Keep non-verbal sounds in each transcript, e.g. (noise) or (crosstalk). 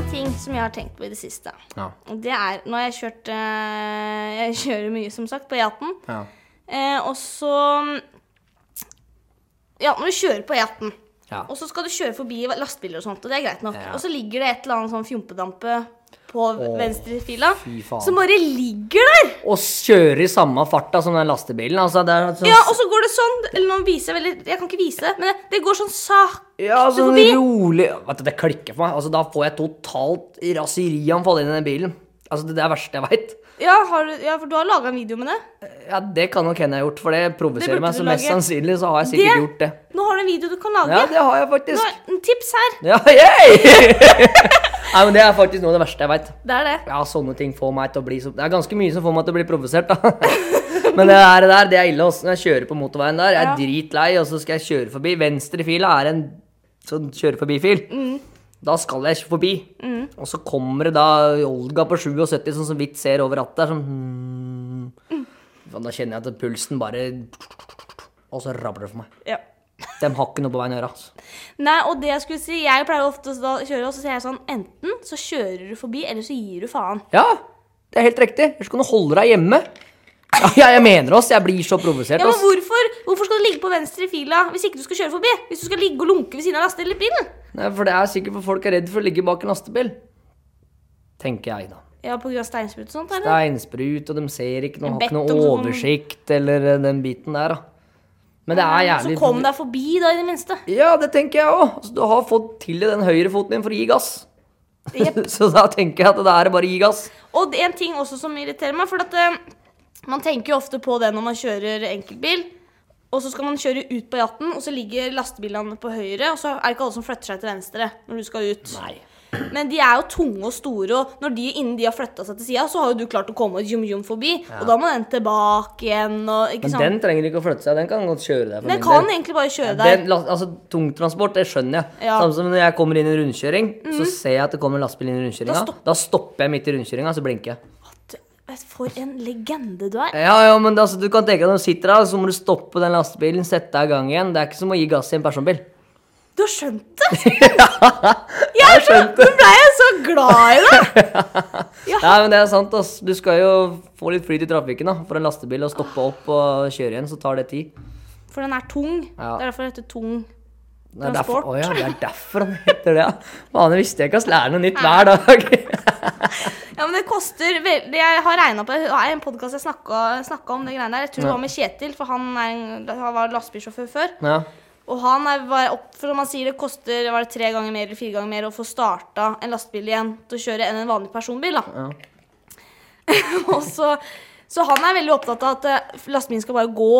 har tenkt på i det siste. Ja. Og Det er Nå har jeg kjørt eh, Jeg (laughs) kjører mye, som sagt, på E18. ja. Eh, og så Ja, når du kjører på E18, Ja. og så skal du kjøre forbi lastebiler og sånt, og det er greit nok. Ja. Og så ligger det et eller annet sånn fjompedampe på Åh, venstre fila fy faen. som bare ligger der! Og kjøre i samme farta som den lastebilen. Altså, det er sånn, Ja, og så går det sånn Eller nå viser jeg veldig Jeg kan ikke vise det, men det, det går sånn sakte Ja, sånn forbi. rolig Vet du, Det klikker for meg. Altså, Da får jeg totalt raserianfall inn i den bilen. Altså, Det det er det verste jeg veit. Ja, har du, ja, for du har laga en video med det. Ja, Det kan nok hende jeg har gjort, for det Det provoserer burde meg. du Så mest lage. sannsynlig så har jeg sikkert Det- gjort det. Nå har du en video du kan lage. Ja, det har jeg Nå, faktisk. en tips her. Ja, (laughs) yay! (laughs) Nei, men Det er faktisk noe av det verste jeg veit. Det er det. Ja, sånne ting får meg til å bli så Det er ganske mye som får meg til å bli provosert, da. (laughs) Men det her- det der, det er ille. Også. Når jeg kjører på motorveien der, jeg er Ja. dritlei, og så skal jeg kjøre forbi. Venstrefila er en sånn kjøre-forbi-fil. Mm. Da skal jeg forbi. Og så kommer det da Olga på 77 sånn som så vidt ser over rattet. der, Sånn, hmm. Faen, Da kjenner jeg at pulsen bare Og så rabler det for meg. Ja. De har ikke noe på veien å gjøre. altså. Nei, og det jeg skulle si Jeg pleier ofte å da kjøre, og så sier jeg sånn Enten så kjører du forbi, eller så gir du faen. Ja, det er helt riktig. Ellers kan du holde deg hjemme. Ja, ja, jeg mener oss. Jeg blir så provosert. Ja, men ass. hvorfor, hvorfor skal du ligge på venstre i fila hvis ikke du skal kjøre forbi? Hvis du skal ligge og lunke ved siden av lastebilen? Nei, for det er sikkert for folk er redd for å ligge bak en lastebil. Tenker jeg, da. Ja, på grunn av steinsprut og sånt, Det eller? er innsprut, og de ser ikke noe, har ikke Bedt om noe sånn- oversikt, eller eh, den biten der, da. Men det er jævlig Så kom deg forbi, da, i det minste. Ja, det tenker jeg òg. Så du har fått til deg den høyrefoten din for å gi gass. Jepp. (laughs) så da tenker jeg at det er bare å gi gass. Og det er en ting også som irriterer meg, for at eh, man tenker jo ofte på det når man kjører enkeltbil. Og så skal man kjøre ut på jatten, og så ligger lastebilene på høyre. Og så er det ikke alle som flytter seg til venstre når du skal ut. Nei. Men de er jo tunge og store, og når de, innen de har flytta seg til sida, så har jo du klart å komme jum jum forbi. Og da må den tilbake igjen og ikke Men sant. den trenger ikke å flytte seg. Den kan godt kjøre deg. for Den, min kan del. egentlig bare kjøre der. Den, la- altså, Tungtransport, det skjønner jeg. Ja. Mhm. Samme som når jeg kommer inn i en rundkjøring, så ser jeg at det kommer en lastebil inn i rundkjøringa. Da Da, stopp- stopper jeg midt i rundkjøringa, så blinker jeg. Vet du, For en legende du er. Ja, ja, men altså, du kan tenke deg når du sitter der, så må du stoppe den lastebilen, sette deg i gang igjen. Det er ikke som å gi gass i en personbil. Du har skjønt det! (laughs) ja, jeg skjønte det! Nå ble jeg så glad i deg! Ja. Nei, men det er sant, ass. Du skal jo få litt flyt i trafikken, da. For en lastebil å stoppe Ah. opp og kjøre igjen, så tar det tid. For den er tung. Ja. Det er derfor det heter tung. Det er derfor, Transport. å, ja, det er derfor han heter det, ja. Faen, jeg visste jeg ikke, ass. Lærer noe nytt hver dag. (laughs) Ja, men det koster veldig Jeg har regna på det er en podkast jeg snakka, snakka om det greiene der. Jeg tror det var med Kjetil, for han, er en, han var lastebilsjåfør før. ja. Og han er bare opp, for som han sier, det koster var det tre ganger mer eller fire ganger mer å få starta en lastebil igjen til å kjøre enn en vanlig personbil. da. Ja. (laughs) og så, så han er veldig opptatt av at eh, lastebilen skal bare gå.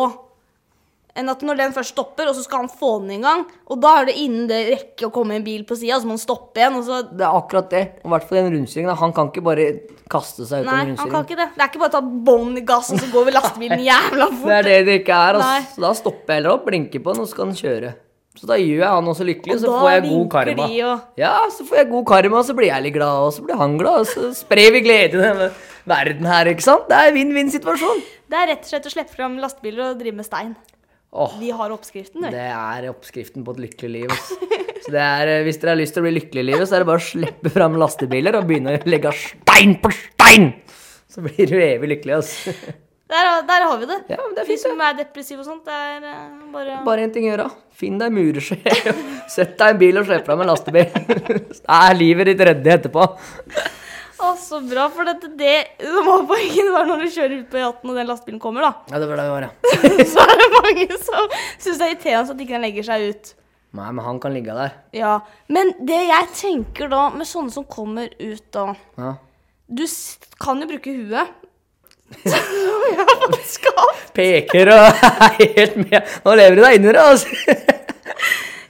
Enn at når den først stopper, og så skal han få den i gang, og da er det innen det rekker å komme en bil på sida, så må han stoppe igjen. og så... Det er akkurat det. Og I hvert fall i en rundkjøring. da. Han kan ikke bare kaste seg ut av Nei, en han kan rundkjøring. ikke det. Det er ikke bare å ta bånn i gassen, så går vi (laughs) lastebilen jævla fort. Det er det det ikke er. Nei. ass. Så da stopper jeg heller opp, blinker på den, og så kan den kjøre. Så da gjør jeg han også lykkelig, Og så da får jeg god vinker karma. de, og- Ja, så får jeg god karma, og så blir jeg litt glad, og så blir han glad, og så sprer vi glede i denne verden her, ikke sant? Det er vinn-vinn-situasjon. Det er rett og slett å slippe fram lastebiler og drive med stein. Åh, Vi har oppskriften, du. det er oppskriften på et lykkelig liv. ass. Så det er, eh, Hvis dere har lyst til å bli lykkelig i livet, så er det bare å slippe fram lastebiler og begynne å legge stein på stein! Så blir du evig lykkelig. ass. Der, har- der har vi det. Ja, men det er Vi fint, som er depressive og sånt, det er eh, bare Bare én ting å gjøre. Finn deg en mureskje. (laughs) Sett deg i en bil og slipp deg med en lastebil. (laughs) Da er livet ditt redde etterpå. Å, så bra, for dette, det som var poenget, var når du kjører ut på E18 og den lastebilen (laughs) kommer, da. Ja, det var det vi var, ja. Så er det mange som syns det er irriterende at ikke den legger seg ut. Nei, men han kan ligge der. Ja, Men det jeg tenker da, med sånne som kommer ut da Ja. Du s- kan jo bruke huet. (laughs) Som jeg har fått skapt. Peker og (laughs) er helt med. Nå lever du deg inni det, (laughs) altså.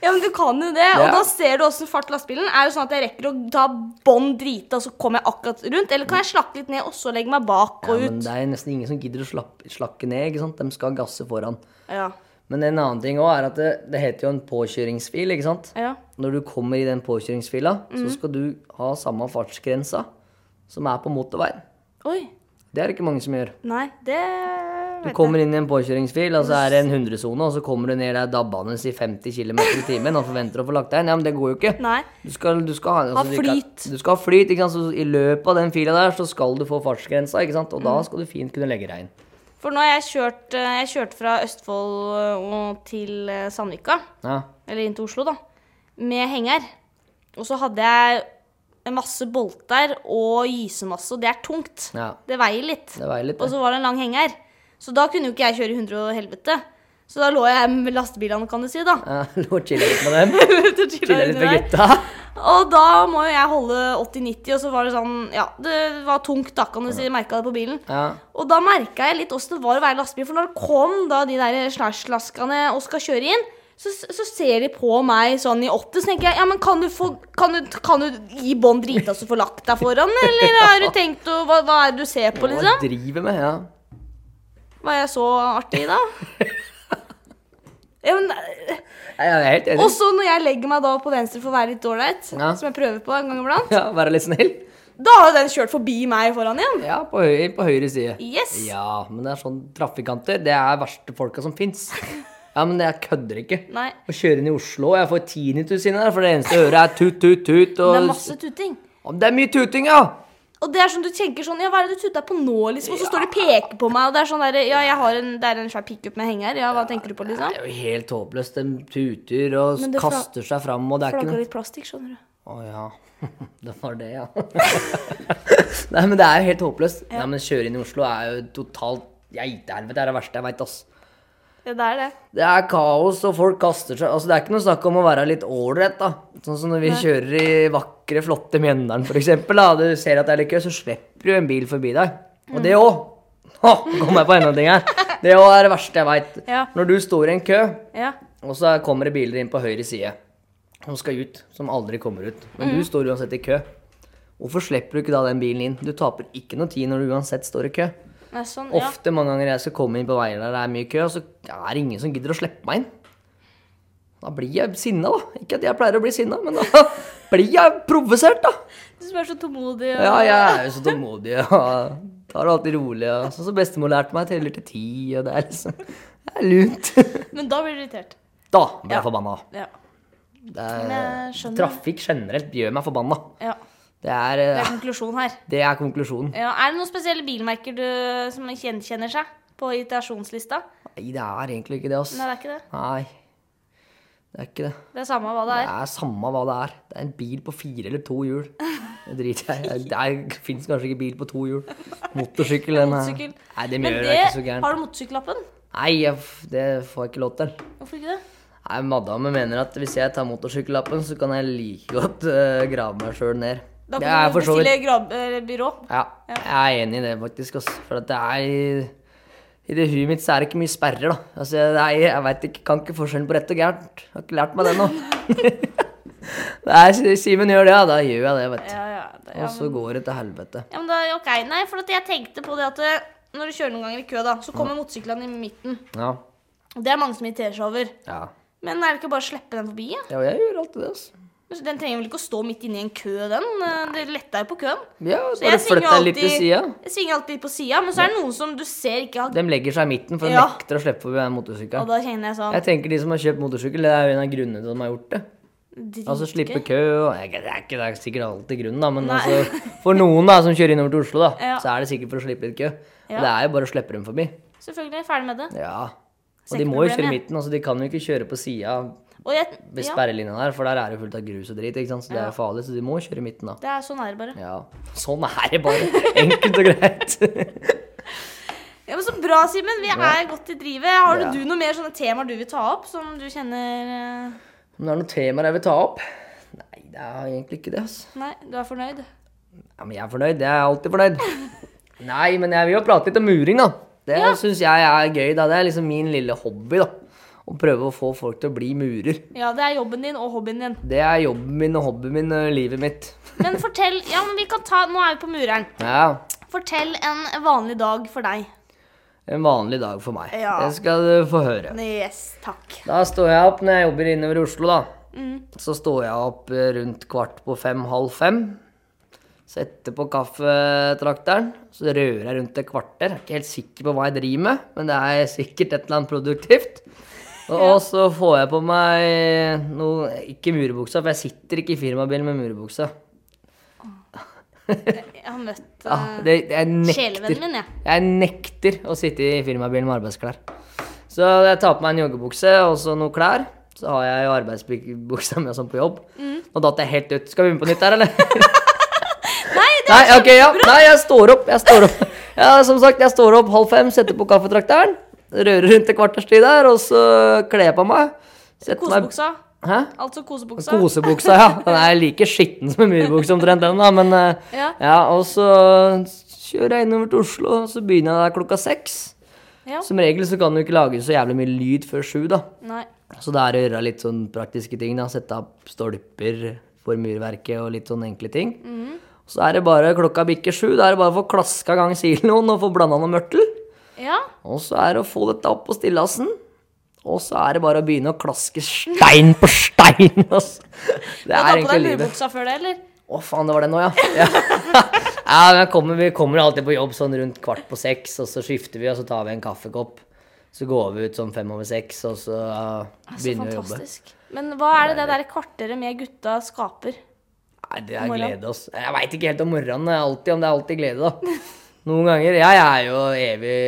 Ja, men du kan jo det. Og Ja. da ser du åssen fart lastebilen er. jo sånn at jeg rekker å ta bånn drita, og så kommer jeg akkurat rundt? Eller kan jeg slakke litt ned, og så legge meg bak Ja, og men ut? det er nesten ingen som gidder å slappe, slakke ned. ikke sant? De skal gasse foran. Ja. Men en annen ting også er at det, det heter jo en påkjøringsfil, ikke sant? ja. Når du kommer i den påkjøringsfila, så skal du ha samme fartsgrensa som er på motorveien. Oi. Det er det ikke mange som gjør. Nei, det Du vet kommer inn i en påkjøringsfil, og så er det en 100-sone, og så kommer du ned der dabbende i 50 km i timen og forventer å få lagt deg inn. Ja, men det går jo ikke. jeg. Nei. Du skal, du skal ha, altså, du ikke- flyt. Du skal ha flyt, ikke sant. Så i løpet av den fila der, så skal du få fartsgrensa, ikke sant. Og Mm. da skal du fint kunne legge deg inn. For nå har jeg kjørt, eh, jeg kjørte fra Østfold eh, og til eh, Sandvika, Ja. eller inn til Oslo, da, med henger. Og så hadde jeg en masse bolter og gysemasse, og det er tungt. ja. Det veier litt. Det veier litt. Og det. så var det en lang henger. Så da kunne jo ikke jeg kjøre i 100 og helvete. Så da lå jeg med lastebilene, kan du si, da. (laughs) Ja, (laughs) Lå og chilla litt med dem. Til Chilla litt med underveis. gutta. Og da må jo jeg holde 80-90, og så var det sånn Ja, det var tungt, da, kan du si. Merka det på bilen. Ja. Og da merka jeg litt åssen det var å være lastebil. For når det kom da de der snæsjlaskene og skal kjøre inn, så, så ser de på meg sånn i 80, så tenker jeg ja, men kan du, få, kan du, kan du gi bånn drita så få lagt deg (laughs) foran, eller har du tenkt å hva, hva er det du ser på, Hva liksom? driver med? Ja. Var jeg så artig da? Ja, men, eh, Nei, Jeg er helt enig. også når jeg legger meg da på venstre for å være litt ålreit, Ja. som jeg prøver på en gang iblant, Ja, Være litt snill? da har jo den kjørt forbi meg foran igjen. Ja, på, høy, på høyre side. Yes! Ja, men det er sånn trafikanter. Det er verste folka (laughs) som fins. Ja, men jeg kødder ikke. Nei. Å kjøre inn i Oslo, jeg får tinnitus inni der, for det eneste jeg hører er tut, tut, tut. Og... Det er masse tuting. Ja, men det er mye tuting, ja! Og det er sånn du tenker sånn Ja, hva er det du tuta på nå, liksom? Og så står de og peker på meg, og det er sånn der Ja, jeg har en, det er en svær pickup med henger. Ja, hva tenker du på, Det liksom? er jo helt håpløst. De tuter og Men det fra- kaster seg fram, og det er ikke Flagga noe litt plastikk, skjønner du. Å ja. (laughs) Det var det, ja. (laughs) Nei, men det er jo helt håpløst. Nei, men kjøre inn i Oslo er jo totalt geitehelvete. Det er det verste jeg veit, ass. Ja, det er det. Det er kaos, og folk kaster seg Altså, Det er ikke noe snakk om å være litt ålreit, da. Sånn som når vi kjører i vakre, flotte Mjøndalen, for eksempel, da. Du ser at det er litt kø, så slipper du en bil forbi deg. Og det òg. (laughs) Nå kom jeg på enda en ting her. Det òg er det verste jeg veit. Ja. Når du står i en kø, Ja. og så kommer det biler inn på høyre side som skal ut, som aldri kommer ut. Men du står uansett i kø. Hvorfor slipper du ikke da den bilen inn? Du taper ikke noe tid når du uansett står i kø. Nei, sånn, ja. Ofte mange ganger jeg skal komme inn på veier der det er mye kø, og så er det ingen som gidder å slippe meg inn. Da blir jeg sinna, da. Ikke at jeg pleier å bli sinna, men da (laughs) blir jeg provosert, da. Du som er så tålmodig. og- Ja, jeg er jo så tålmodig og tar det alltid rolig. Og sånn som bestemor lærte meg, teller til ti, og det er liksom Det er lunt. Men da blir du irritert. (laughs) Da blir Ja. jeg forbanna. Ja. Det Men er, jeg skjønner. trafikk generelt gjør meg forbanna. ja. Det er, Det er eh, konklusjonen her. det er konklusjonen. Ja, er det noen spesielle bilmerker du, som gjenkjenner seg på irritasjonslista? Nei, det er egentlig ikke det, ass. Nei, det er ikke det. Nei. Det er ikke det. Det er samme hva det Det er. er samme hva det er. Det er en bil på fire eller to hjul. Det driter jeg i. Det er- finnes kanskje ikke bil på to hjul. Motorsykkel, den her. Motorsykkel. Nei, det Men gjør jeg det, ikke så gæren. har du motorsykkellappen? Nei, jeg, f- det får jeg ikke lov til. Hvorfor ikke det? Nei, Madammen mener at hvis jeg tar motorsykkellappen, så kan jeg like godt eh, grave meg sjøl ned. Da Det er kan for du så vidt bestille grab- eh, byrå. Ja, jeg er enig i det, faktisk. ass. For at det er i- I det huet mitt så er det ikke mye sperrer, da. Altså, det er, jeg vet ikke, kan ikke forskjellen på rett og gærent. Jeg har ikke lært meg det nå. (laughs) Nei, Simen gjør det, ja. Da gjør jeg det, vet du. Ja, ja. Det, ja. Og så går det til helvete. Ja, men da, ok, nei, for at jeg tenkte på det at eh, når du kjører noen ganger i kø, da, så kommer motorsyklene i midten. Ja. Og Det er mange som irriterer seg over. ja. Men er det ikke bare å slippe den forbi? Ja? Ja, jeg gjør alltid det, altså. Den trenger vel ikke å stå midt inne i en kø, den? Eh, Det letter jo på køen. Ja, Så bare svinger flytt deg litt til sida. jeg svinger alltid på sida, men så er det noen som du ser ikke har De legger seg i midten, for de Ja. nekter å slippe forbi den Og motorsykkelen. da kjenner jeg sånn Jeg tenker de som har kjøpt motorsykkel, det er jo en av grunnene til at de har gjort det. dritgøy. Altså slippe kø og jeg, Det er ikke det er sikkert alltid grunnen, da, men Nei. altså, for noen da, som kjører innover til Oslo, da, Ja. så er det sikkert for å slippe litt kø. Og Ja. det er jo bare å slippe dem forbi. Selvfølgelig. Ferdig med det. Ja. Og Så de ikke må jo problem, kjøre i ja. midten, altså de kan jo ikke kjøre på sida Og jeg, ved ja, sperrelinja der, for der er det fullt av grus og drit, ikke sant? så det er jo farlig, så de må kjøre i midten, da. det er sånn er det bare. Ja. Sånn er det bare. Enkelt og greit. (laughs) Ja, men Så bra, Simen. Vi er godt i drivet. Har Ja. du noe mer sånne temaer du vil ta opp, som du kjenner eh, Om det er noen temaer jeg vil ta opp? Nei, det er egentlig ikke det, altså. Nei, du er fornøyd? Ja, men jeg er fornøyd. Jeg er alltid fornøyd. Nei, men jeg vil jo prate litt om muring, da. Det synes syns jeg er gøy. da. Det er liksom min lille hobby, da. Å prøve å få folk til å bli murer. Ja, det er jobben din og hobbyen din. Det er jobben min og hobbyen min og livet mitt. Men fortell Ja, men vi kan ta Nå er vi på mureren. Ja, Fortell en vanlig dag for deg. En vanlig dag for meg. Ja. Det skal du få høre. Yes, takk. Da står jeg opp når jeg jobber innover i Oslo, da. Så står jeg opp eh, rundt kvart på fem, halv fem. Sette på kaffetrakteren, så rører jeg rundt et kvarter. Jeg er ikke helt sikker på hva jeg driver med, men det er sikkert et eller annet produktivt. Og, og så får jeg på meg noe Ikke murebuksa, for jeg sitter ikke i firmabilen med murebuksa. Jeg har møtt Ja, eh, det, jeg nekter. sjelevennen min, jeg. Jeg nekter å sitte i firmabilen med arbeidsklær. Så jeg tar på meg en joggebukse og så noen klær. Så har jeg jo arbeidsbuksa med sånn på jobb. Og da datt jeg helt ut. Skal vi begynne på nytt her, eller? (laughs) Nei, det Nei, ok, ja. Nei, jeg står opp. Jeg står opp. Ja, som sagt, jeg står opp halv fem, setter på kaffetrakteren. Rører rundt et kvarters tid der, og så kler jeg på meg. er Setter meg kosebuksa. Hæ? Altså kosebuksa. Kosebuksa, ja. Den er like skitten som en murbukse omtrent, den, da, men eh, Ja. (laughs) ja, og så kjører jeg innover til Oslo, og så begynner jeg der klokka seks. Ja. Som regel så kan du ikke lage så jævlig mye lyd før sju, da. Nei. Så det er å gjøre litt sånn praktiske ting, da. Sette opp stolper for murverket og litt sånn enkle ting. Så er det bare klokka bikker sju, da er det bare å få klaska i gang siloen og få blanda noe mørtel. Ja. Og så er det å få dette opp på stillasen. Og så er det bare å begynne å klaske stein på stein, altså. Det Du har er tatt på egentlig deg livet. murbuksa før det, eller? Å, faen, det var det nå, ja. ja. (laughs) ja men jeg kommer, vi kommer alltid på jobb sånn rundt kvart på seks, og så skifter vi, og så tar vi en kaffekopp. Så går vi ut sånn fem over seks, og så ja, Så begynner vi å jobbe. fantastisk. Men hva er det det der kvarteret med gutta skaper? Nei, det er Morgen. glede, altså. Jeg veit ikke helt om morgenen, det er alltid, om det er alltid glede, da. Noen ganger Jeg er jo evig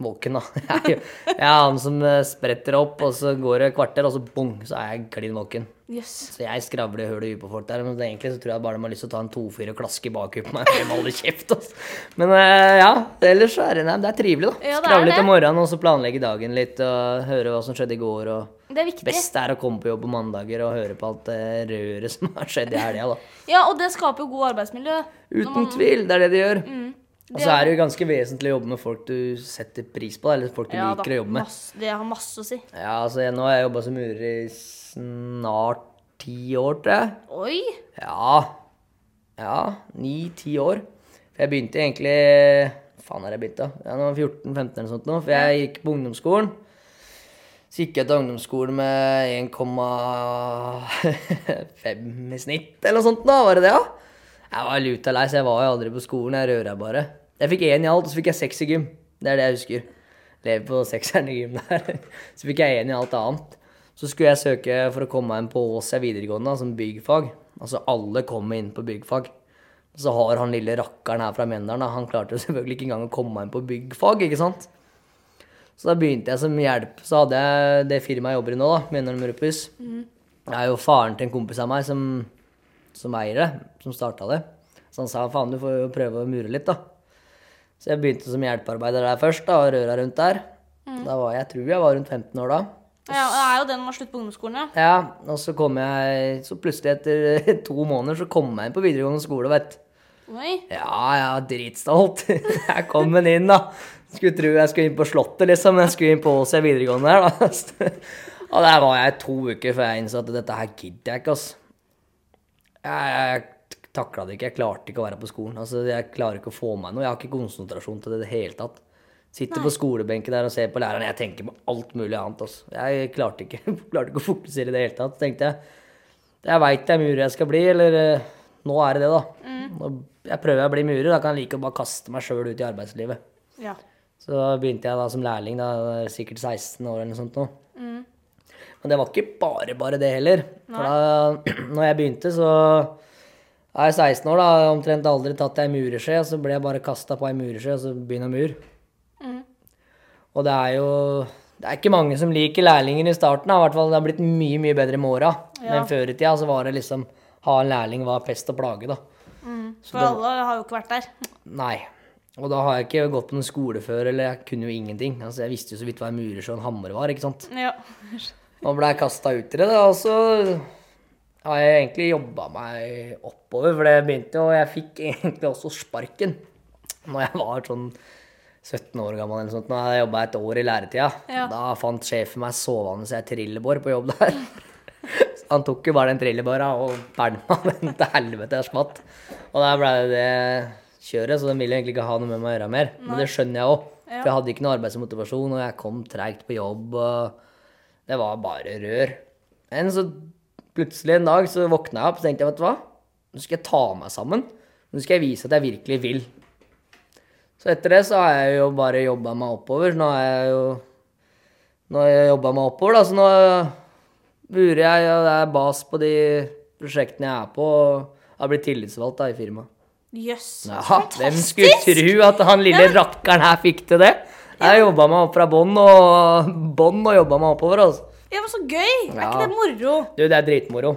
våken, da. (laughs) Jeg er, jo, jeg er han som eh, spretter opp, og så går det et kvarter, og så bong, så er jeg klin våken. Jøss. Så jeg skravler høl i huet på folk der, men egentlig så tror jeg bare de har lyst til å ta en 2-4 og klaske i bakhuet på meg. for Jeg holder kjeft, altså. Men eh, ja, ellers så er det, nei, det er trivelig, da. Ja, det er Skravle litt det. om morgenen, og så planlegge dagen litt, og høre hva som skjedde i går. og Det er viktig. Best er å komme på jobb på mandager og høre på alt det røret som har skjedd i helga, da. Ja, og det skaper jo god arbeidsmiljø. Uten tvil, det er det de gjør. Og Mm. Det så er det jo ganske vesentlig å jobbe med folk du setter pris på, eller folk du Ja, da, liker å jobbe med. masse- det har masse å si. Ja, altså, jeg, Nå har jeg jobba som murer i snart ti år, tror jeg. Oi! Ja. Ja, ni-ti år. For jeg begynte egentlig hva Faen, har jeg begynt, da? Jeg var 14-15 eller sånt nå. For jeg gikk på ungdomsskolen. Så gikk jeg til ungdomsskolen med 1,5 i snitt eller noe sånt. da, Var det det, da? Jeg var luta lei, så jeg var jo aldri på skolen. Jeg røra bare. Jeg fikk én i alt, og så fikk jeg seks i gym. Det er det jeg husker. Lever på sekseren i gym der. (laughs) Så fikk jeg én i alt annet. Så skulle jeg søke for å komme meg inn på Åsia videregående, da, som byggfag. Altså alle kommer inn på byggfag. Så har han lille rakkeren her fra Mjøndalen, da, han klarte jo selvfølgelig ikke engang å komme meg inn på byggfag, ikke sant? Så da begynte jeg som hjelp. Så hadde jeg det firmaet jeg jobber i nå, da, Mjøndalen Murupus. Det er jo faren til en kompis av meg som, som eier det, som starta det. Så han sa faen, du får jo prøve å mure litt, da. Så jeg begynte som hjelpearbeider der først, da, og røra rundt der. Da var jeg, jeg tror jeg var rundt 15 år da. Ja, det er jo den man har slutt på ungdomsskolen, ja. Ja, og så kom jeg Så plutselig etter (laughs) to måneder så kom jeg inn på videregående skole, vet du. Oi. Ja, jeg var dritstolt. (laughs) Jeg kom den inn, da. Skulle tro jeg skulle inn på Slottet, liksom, men jeg skulle inn på Åsia videregående her, da. (laughs) Og der var jeg i to uker før jeg innså at dette her gidder jeg ikke, altså. Jeg, jeg takla det ikke. Jeg klarte ikke å være på skolen. Altså, jeg klarer ikke å få meg noe. Jeg har ikke konsentrasjon til det i det hele tatt. Sitter på skolebenken der og ser på læreren. Jeg tenker på alt mulig annet. Altså. Jeg klarte ikke, (laughs) klarte ikke å fokusere i det hele tatt. Så tenkte jeg jeg veit det er murer jeg skal bli, eller eh, nå er det det, da. Nå, jeg prøver å bli murer, da kan jeg like å bare kaste meg sjøl ut i arbeidslivet. Ja. Så da begynte jeg da som lærling, da, jeg var sikkert 16 år eller noe sånt. nå. Men det var ikke bare bare det heller. For da (clears throat) når jeg begynte, så er jeg 16 år, da. har jeg Omtrent aldri tatt ei mureskje. Og så ble jeg bare kasta på ei mureskje, og så begynner mur. Og det er jo Det er ikke mange som liker lærlinger i starten. da. I hvert fall det har blitt mye, mye bedre med åra. Men før i tida så var det liksom Ha en lærling var pest og plage, da. For alle har jo ikke vært der. Nei. Og da har jeg ikke gått på noen skole før, eller jeg kunne jo ingenting. Altså, jeg visste jo så vidt hva en murer og en hammer var, ikke sant. Ja. Nå ble jeg kasta ut i det, da, og så har jeg egentlig jobba meg oppover, for det begynte jo Og jeg fikk egentlig også sparken når jeg var sånn 17 år gammel eller noe sånt. Når jeg jobba et år i læretida, Ja. da fant sjefen meg sovende så jeg trillebår på jobb der. (laughs) Så Han tok jo bare den trillebåra og pælma (laughs) den til helvete jeg skvatt. Og der ble det det kjøret, så den ville egentlig ikke ha noe med meg å gjøre mer. Men det skjønner jeg òg, for jeg hadde ikke noe arbeidsmotivasjon, og jeg kom treigt på jobb. og... Det var bare rør. Men så plutselig en dag så våkna jeg opp og tenkte jeg, vet du hva, nå skal jeg ta meg sammen. Nå skal jeg vise at jeg virkelig vil. Så etter det så har jeg jo bare jobba meg oppover. Nå har jeg jo Nå har jeg jobba meg oppover, da, så nå burer jeg, og det er bas på de prosjektene jeg er på. Og har blitt tillitsvalgt da i firmaet. Jøss. Ja, hvem Fantastisk! skulle tro at han lille rakkeren her fikk til det? Jeg jobba meg opp fra bånn og bånn og jobba meg oppover. altså. Ja, men Så gøy! Er Ja. ikke det moro? Du, det er dritmoro.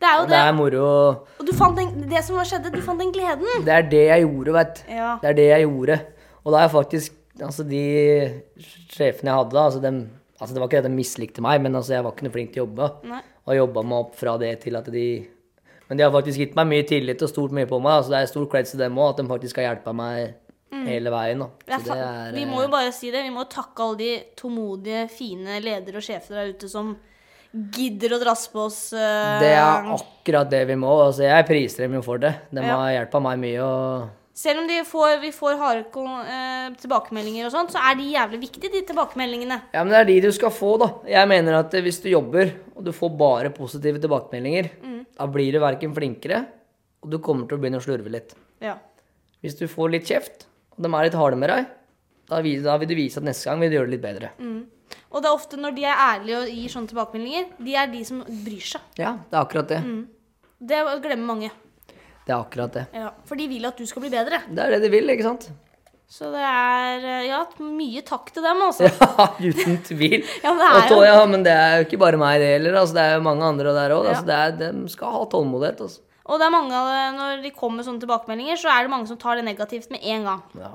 Det er jo Det det. er moro. Og du fant den, det som skjedde, du fant den gleden. Det er det jeg gjorde, veit du. Ja. Det er det jeg gjorde. Og da er faktisk Altså, de sjefene jeg hadde da, altså, dem, altså det var ikke det at de mislikte meg, men altså, jeg var ikke noe flink til å jobbe. Nei. Og jobba meg opp fra det til at de Men de har faktisk gitt meg mye tillit og stolt mye på meg. Altså, det er stor creds til dem òg, at de faktisk har hjulpet meg hele veien. Da. Det er Så det fa- er Mm. vi eh, må jo bare si det. Vi må takke alle de tålmodige, fine ledere og sjefer der ute som gidder å drasse på oss. eh, Det er akkurat det vi må. Altså, jeg priser dem jo for det. De Ja. har hjulpet meg mye. Og Selv om de får, vi får harde kon- eh, tilbakemeldinger og sånt, så er de jævlig viktige, de tilbakemeldingene. Ja, men det er de du skal få, da. Jeg mener at eh, hvis du jobber, og du får bare positive tilbakemeldinger, Mm. da blir du verken flinkere, og du kommer til å begynne å slurve litt. Ja. Hvis du får litt kjeft, og de er litt harde med deg, da vil, da vil du vise at neste gang vil du gjøre det litt bedre. Mm. Og det er ofte når de er ærlige og gir sånne tilbakemeldinger, de er de som bryr seg. Ja, det er akkurat Mm. det. Det glemmer mange. Det er akkurat det. Ja. For de vil at du skal bli bedre. Det er det de vil, ikke sant? Så det er eh, Ja, mye takk til dem, altså. (laughs) Ja, uten (laughs) tvil. Ja, men det Og er tå- jo- ja, men det er jo ikke bare meg, det heller. Altså, det er jo mange andre der òg. Ja. Altså, det er- de skal ha tålmodighet. Altså. Og det er mange av det, når de kommer med sånne tilbakemeldinger, så er det mange som tar det negativt med en gang. Ja.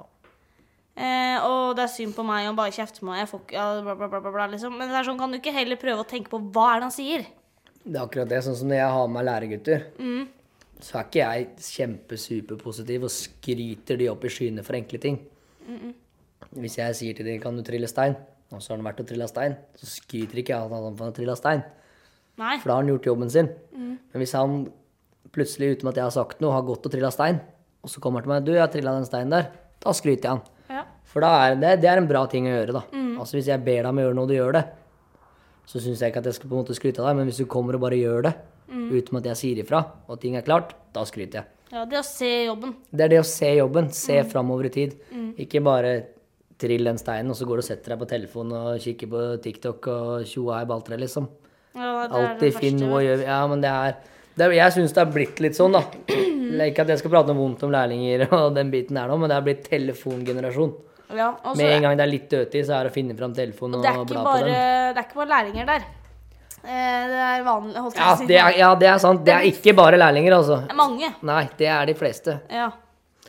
Eh, og det er synd på meg, og bare kjefter på meg, jeg får ikke ja, bla, bla, bla, bla, bla, liksom. Men det er sånn, kan du ikke heller prøve å tenke på hva er det han sier? Det er akkurat det. Sånn som når jeg har med læregutter, Mm. så er ikke jeg kjempesuperpositiv og skryter de opp i skyene for enkle ting. Hvis jeg sier til dem 'kan du trille stein', og så har han vært og trilla stein, så skryter ikke jeg av at han har trilla stein, Nei. for da har han gjort jobben sin. Men hvis han plutselig, uten at jeg har sagt noe, har gått og trilla stein, og så kommer han til meg 'du, jeg har trilla den steinen der', da skryter jeg han. Ja. For da er det, det er en bra ting å gjøre, da. Altså Hvis jeg ber deg om å gjøre noe, og du gjør det, så syns jeg ikke at jeg skal på en måte skryte av deg, men hvis du kommer og bare gjør det, uten at jeg sier ifra, og ting er klart, da skryter jeg. ja, det å se jobben. Det er det å se jobben. Se framover i tid. Ikke bare trill den steinen, og så går du og setter deg på telefonen og kikker på TikTok og tjoa i balltre, liksom. Ja, det er det Alltid finn verste. noe å gjøre Ja, men det er, det er Jeg syns det er blitt litt (clears throat) sånn, da. Ikke at jeg skal prate noe vondt om lærlinger (laughs) og den biten der nå, men det er blitt telefongenerasjon. Ja, og så- Med en gang det er litt dødtid, så er det å finne fram telefonen og, det er, ikke bare, bla på den. det er ikke bare læringer der. Eh, det er vanlig holdt jeg Ja på å si. det, er, ja, det er sant. Det er ikke bare lærlinger, altså. Det er mange. Nei, det er de fleste. Ja.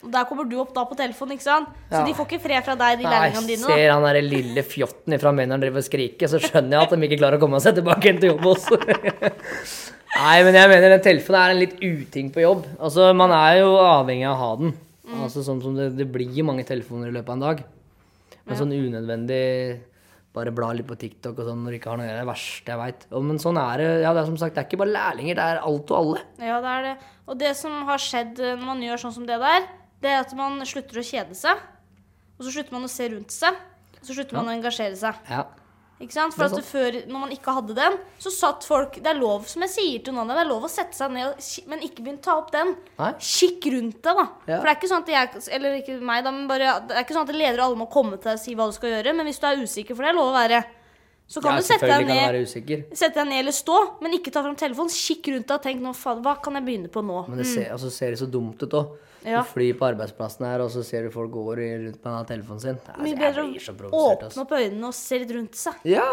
Og der kommer du opp da på telefonen, ikke sant? Så Ja. de får ikke fred fra deg, de Nei, lærlingene dine. ser han derre lille fjotten ifra Mønneren driver og skriker, så skjønner jeg at de ikke klarer å komme seg tilbake igjen til jobb også. (laughs) Nei, men jeg mener den telefonen er en litt uting på jobb. Altså, man er jo avhengig av å ha den. Mm. Altså, sånn som det, det blir mange telefoner i løpet av en dag. Men sånn unødvendig bare bla litt på TikTok og sånn når du ikke har noe å gjøre. Det er det verste jeg veit. Men sånn er det. Ja, det er som sagt, det er ikke bare lærlinger, det er alt og alle. da. Ja, det er det. Og det som har skjedd eh, når man gjør sånn som det der, det er at man slutter å kjede seg. Og så slutter man å se rundt seg. Og så slutter man å engasjere seg. Ja. Ikke sant? For Det er at før, når man ikke hadde den, så satt folk Det er lov, som jeg sier til noen av dem, det er lov å sette seg ned, og, ki- men ikke begynn å ta opp den. Nei. Kikk rundt deg, da. Ja. For det er ikke sånn at jeg Eller ikke meg, da, men bare Det er ikke sånn at ledere alle må komme til deg og si hva du skal gjøre, men hvis du er usikker, for det er lov å være, så kan ja, du sette deg selvfølgelig kan jeg ned. være usikker. Sette deg ned eller stå, men ikke ta fram telefonen. Kikk rundt deg og tenk nå, faen, hva kan jeg begynne på nå? Men det ser, altså, ser det så dumt ut òg. Mm. Ja. Du flyr på arbeidsplassen her, og så ser du folk går i- rundt med den telefonen sin. Altså, Mye jeg bedre blir så å provosert, åpne altså. opp øynene og se litt rundt seg. Ja.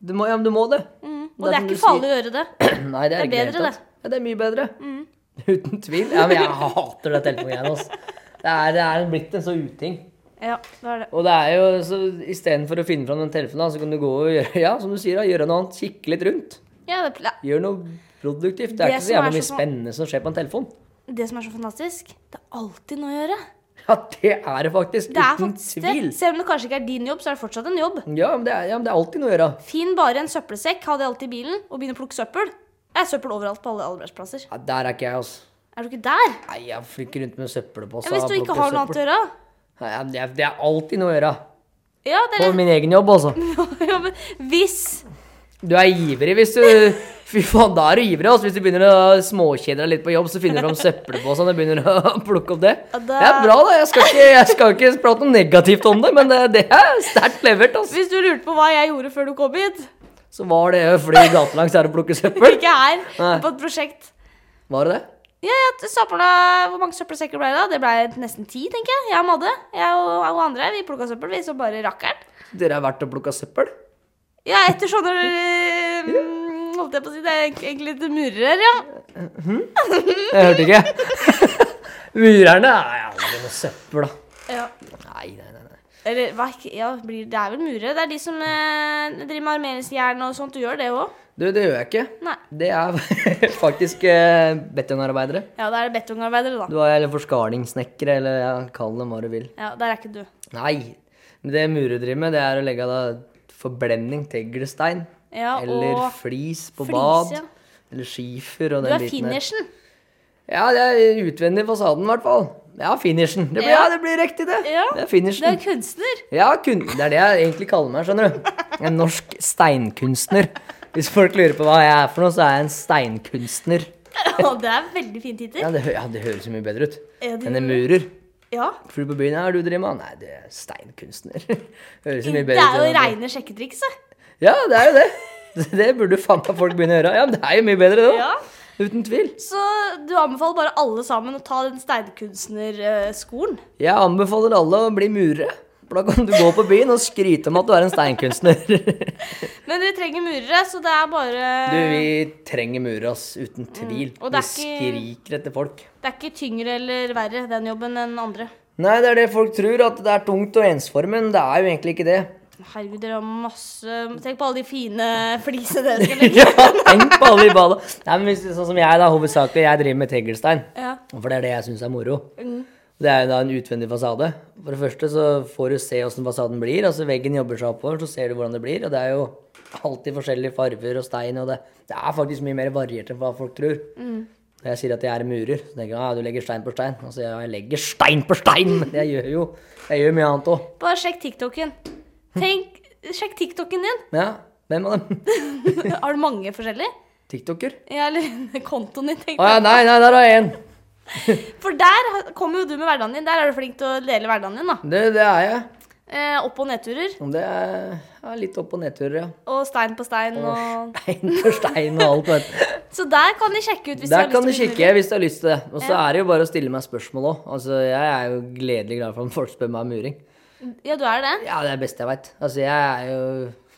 Du må, ja, men du må det. Og det er som du ikke farlig å gjøre det. sier. (clears throat) Nei, det er, Mm. Det Mm. er bedre, ikke det. hele tatt. Ja, det er mye bedre. (laughs) Uten tvil. Ja, men jeg hater det telefongreiene, altså. Det er, det er blitt en så uting. Ja, det er det. Og det er jo, så Istedenfor å finne fram den telefonen, da, så kan du gå og gjøre ja, som du sier, da, gjøre noe annet. Kikke litt rundt. Ja, det, pla- Gjør noe produktivt. Det er Det ikke så som er jævlig mye så- spennende som skjer på en telefon. det som er så fantastisk, det er alltid noe å gjøre. Ja, det er det faktisk. Det er uten faktisk det. tvil. Selv om det kanskje ikke er din jobb, så er det fortsatt en jobb. Ja men, det er, ja, men det er alltid noe å gjøre. Finn bare en søppelsekk, ha det alltid i bilen, og begynn å plukke søppel. Det er søppel overalt på alle arbeidsplasser. Ja, der er ikke jeg, altså. Er du ikke der? Nei, jeg flykker rundt med søppelpose. Ja, hvis du ikke har noe annet å gjøre. Nei, men det, er, det er alltid noe å gjøre. Ja, det På er (laughs) min egen jobb, altså. ja, men hvis Du (laughs) er ivrig hvis du Fy faen, da er du ivrig. Altså. Hvis du begynner å småkjede deg litt på jobb, så finner du fram søppelposen og begynner å (laughs) plukke opp det. Ja, Det da- er bra, da. Jeg skal ikke, jeg skal ikke prate noe negativt om det, men det, det er sterkt levert. Altså. Hvis du lurte på hva jeg gjorde før du kom hit Så var det å fly gatelangs her og plukke søppel. (laughs) Ikke her, Nei. på et prosjekt. Var det det? Ja, jeg søpla- Hvor mange søppelsekker ble det? da? Det ble nesten ti, tenker jeg. Jeg og Madde jeg og, og andre her, vi plukka søppel, vi, så bare rakkeren. Dere har vært og plukka søppel? Ja, etter sånne øh, mm, Holdt jeg på å si, det er egentlig litt murere, ja. Jeg hørte ikke. (laughs) Murerne er aldri noe søppel, da. ja. Nei, nei, nei. nei. Eller hva ikke- ja, blir, det er vel murere? Det er de som eh, driver med armeringsjern og sånt. Du gjør det òg? Du, det gjør jeg ikke. Nei. Det er (laughs) faktisk eh, betongarbeidere. Ja, da er det betongarbeidere, da. Du er eller forskarningssnekkere, eller ja, kall dem hva du vil. Ja, Der er ikke du. Nei, men det murer driver med, det er å legge av da forbrenning, teglstein, Ja, eller og flis på flis, bad, ja. eller skifer og Du den er biten der. finishen. Ja, det er utvendig fasaden i hvert fall. Ja, finishen. Det blir, ja. Ja. det blir riktig det. Ja, Det er Du er finishen. kunstner. (laughs) Ja, kun, det er det jeg egentlig kaller meg, skjønner du. En norsk steinkunstner. Hvis folk lurer på hva jeg er for noe, så er jeg en steinkunstner. Og det er veldig fin tittel. Ja, det, hø- ja, det høres jo mye bedre ut Ja, det enn en murer. Ja. Fly på byen, ja, er du driver med? Nei, det er steinkunstner. (laughs) Høres Det jo mye er bedre ut. jo enn- reine sjekketrikset. Ja, det er jo det. Det burde faen meg folk begynne å gjøre. Ja, men det er jo mye bedre, det òg. Ja. Uten tvil. Så du anbefaler bare alle sammen å ta den steinkunstnerskolen? Jeg anbefaler alle å bli murere. For da kan du gå på byen og skryte om at du er en steinkunstner. (laughs) Men dere trenger murere, så det er bare Du, vi trenger murere, ass. Uten tvil. og det er Vi ikke- skriker etter folk. Det er ikke tyngre eller verre, den jobben, enn andre. Nei, det er det folk tror, at det er tungt og ensformig, men det er jo egentlig ikke det. Herregud, dere har masse Tenk på alle de fine flisene dere skal (laughs) legge. Ja, tenk på alle i badet. Nei, men hvis, sånn som jeg, da, hovedsakelig, jeg driver med teglstein. Ja. For det er det jeg syns er moro. Det er jo da en utvendig fasade. For det første så får du se åssen fasaden blir. altså Veggen jobber seg oppover, så ser du hvordan det blir. Og det er jo alltid forskjellige farger og stein, og det, det er faktisk mye mer variert enn hva folk tror. Når jeg sier at jeg er murer, så tenker jeg at du legger stein på stein. Og så sier jeg, ja, jeg legger stein på stein! Men jeg gjør jo jeg gjør mye annet òg. Bare sjekk TikToken. Tenk, sjekk TikToken din. (laughs) Ja, hvem av dem? Har du mange forskjellige? TikToker? Ja, eller (laughs) kontoen din, Å tenkte ja, nei, nei, der er én! jeg. For der har- kommer jo du med hverdagen din. Der er du flink til å dele hverdagen din, da. Det, det er jeg. Eh, opp- og nedturer. Det er ja, litt opp- og nedturer, ja. Og stein på stein og Stein for stein og alt. vet du. Så der kan de sjekke ut (laughs) hvis de Der har kan du lyst til å bli kikke hvis du har lyst til det. Og så er det jo bare å stille meg spørsmål òg. Altså, jeg er jo gledelig glad for om folk spør meg om muring. murer. Ja, du er det? Ja, det er det beste jeg veit. Altså, jeg er jo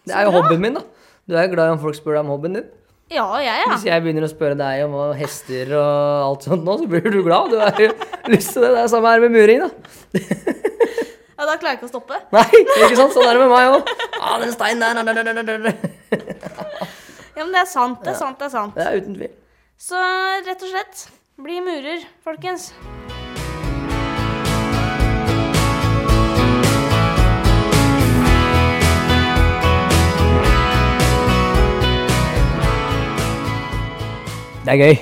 Det er jo hobbyen min, da. Du er jo glad i om folk spør deg om hobbyen din. Ja, jeg, ja. Hvis jeg begynner å spørre deg om hva hester og alt sånt nå, så blir du glad. Du har jo (laughs) lyst til det. Det er samme her med muring, da. ja. Da klarer jeg ikke å stoppe. Nei, ikke sant? Sånn er det med meg òg. Ah, den steinen der, der, der, der, der, der. Ja, men det er sant, det er sant, det er sant. Det er uten tvil. Så rett og slett, bli murer, folkens. Det er gøy.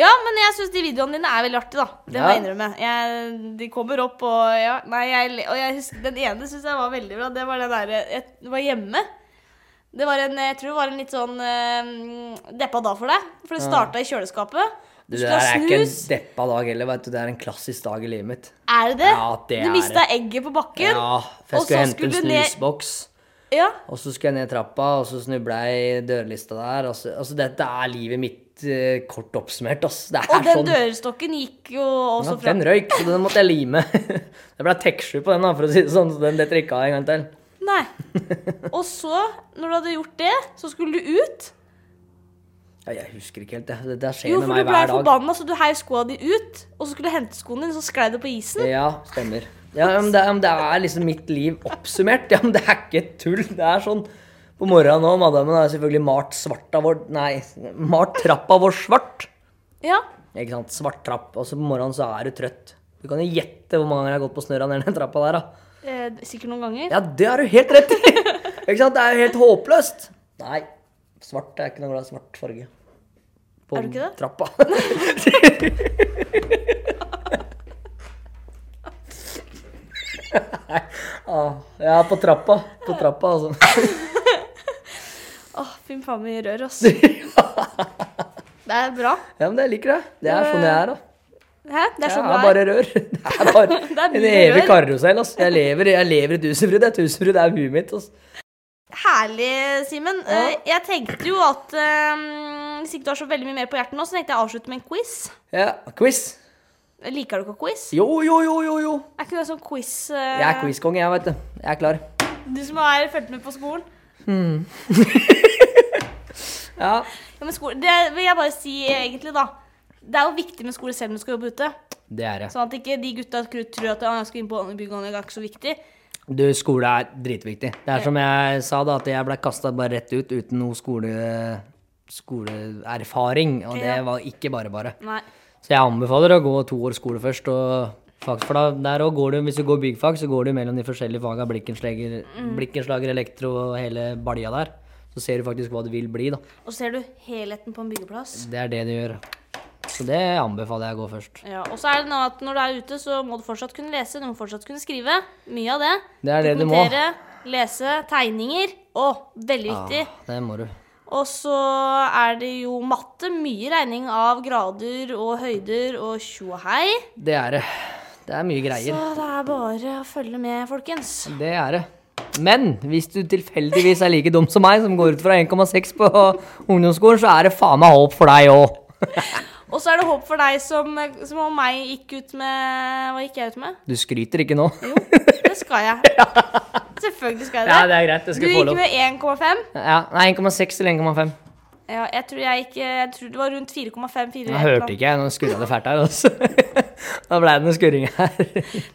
Ja, men jeg syns de videoene dine er veldig artige, da. Det må Ja. jeg innrømme. Jeg, de kommer opp, og ja Nei, jeg, le- og jeg husker Den ene syns jeg var veldig bra. Det var den derre jeg var hjemme. Det var en, jeg tror det var en litt sånn eh, deppa dag for deg. For det starta i kjøleskapet. Du Du, det skulle der ha er ikke en snus. deppa dag heller, vet du. Det er en klassisk dag i livet mitt. Er det det? Ja, det du er mista det. egget på bakken. Ja, for jeg Og så skulle hente en skulle du ned- snusboks, Ja. og så skulle jeg ned trappa, og så snubla jeg i dørlista der. Altså, altså dette er livet mitt eh, kort oppsummert, ass. Det er Og den sånn. dørstokken gikk jo Ja, også fra den røyk, så den måtte jeg lime. (laughs) det ble tekstju på den, da, for å si det sånn, så den detter ikke av en gang til. (laughs) Nei. Og så, når du hadde gjort det, så skulle du ut. Ja, jeg husker ikke helt, det. Det, det skjer Jo, for med du meg ble hver dag. forbanna, så du heiv skoa di ut. Og så skulle du hente skoene dine, så sklei du på isen. Ja, stemmer. Ja, men det, men det er liksom mitt liv oppsummert. Ja, men det er ikke tull. Det er sånn på morgenen nå, madammen har selvfølgelig malt svarta vår Nei, malt trappa vår svart. Ja. Ikke sant. Svart trapp. Og så på morgenen så er du trøtt. Du kan jo gjette hvor mange ganger jeg har gått på snørra ned den trappa der, da. Eh, sikkert noen ganger. Ja, det har du helt (laughs) rett i! Ikke sant? Det er jo helt håpløst. Nei, svart er ikke noe glad i svart farge. På Er du ikke det? (laughs) trappa. Ah, Ja, på trappa. På trappa, altså. Åh, Fy faen mye rør, ass. det er bra. (laughs) Ja, men jeg liker det. Det er sånn jeg er, da. Hæ? Det er Jeg sånn er det er. bare rør. (laughs) Det er (laughs) bare er en mye evig rør. karusell. ass. Jeg lever, jeg lever i tusenfryd. Det er tusenfryd, det er huet mitt. ass. Herlig, Simen. Eh, Jeg tenkte jo at eh, hvis ikke du har så veldig mye mer på hjertet nå, så tenkte jeg å avslutte med en quiz. Ja, Quiz. Liker du ikke quiz? Jo, jo, jo, jo. jo. Er ikke du en sånn quiz eh, Jeg er quizkonge, jeg, vet du. Jeg er klar. Du som har fulgt med på skolen? Ja, Ja, men skole, det vil jeg bare si egentlig, da. Det er jo viktig med skole selv om du skal jobbe ute. det er det. Sånn at ikke de gutta tror at «Å, jeg skal inn på bygående, det er ikke så viktig. Du, skole er dritviktig. Det er som jeg sa, da, at jeg ble kasta bare rett ut uten noe skole, skoleerfaring. Og det Ja. var ikke bare bare. Nei. Så jeg anbefaler å gå to år skole først. og fag, for da, der også går du, Hvis du går byggfag, så går du mellom de forskjellige faga. Blikkenslager, blikkenslager, elektro og hele balja der. Så ser du faktisk hva du vil bli. da. Og så ser du helheten på en byggeplass. Det er det du gjør. Så det anbefaler jeg å gå først. Ja, og så er det nå at når du er ute, så må du fortsatt kunne lese, du må fortsatt kunne skrive. Mye av det. Det er det du må. Dokumentere, lese, tegninger. Å, veldig viktig. Ah, det må du. Og så er det jo matte. Mye regning av grader og høyder og tjo og hei. Det er det. Det er mye greier. Så det er bare å følge med, folkens. Det er det. Men hvis du tilfeldigvis er like dum som meg, som går ut fra 1,6 på ungdomsskolen, så er det faen meg håp for deg òg. Og så er det håp for deg som, som og meg gikk ut med Hva gikk jeg ut med? Du skryter ikke nå. Jo, det skal (laughs) jeg. Selvfølgelig skal jeg det. Ja, det er greit. Det skal du få gikk lov. med 1,5. Ja, nei, 1,6 eller 1,5. Ja, jeg tror jeg gikk Jeg tror det var rundt 4,5. fire- Jeg hørte ikke, jeg. Nå skurra det fælt her. Altså. (laughs) Da ble det noe skurring her.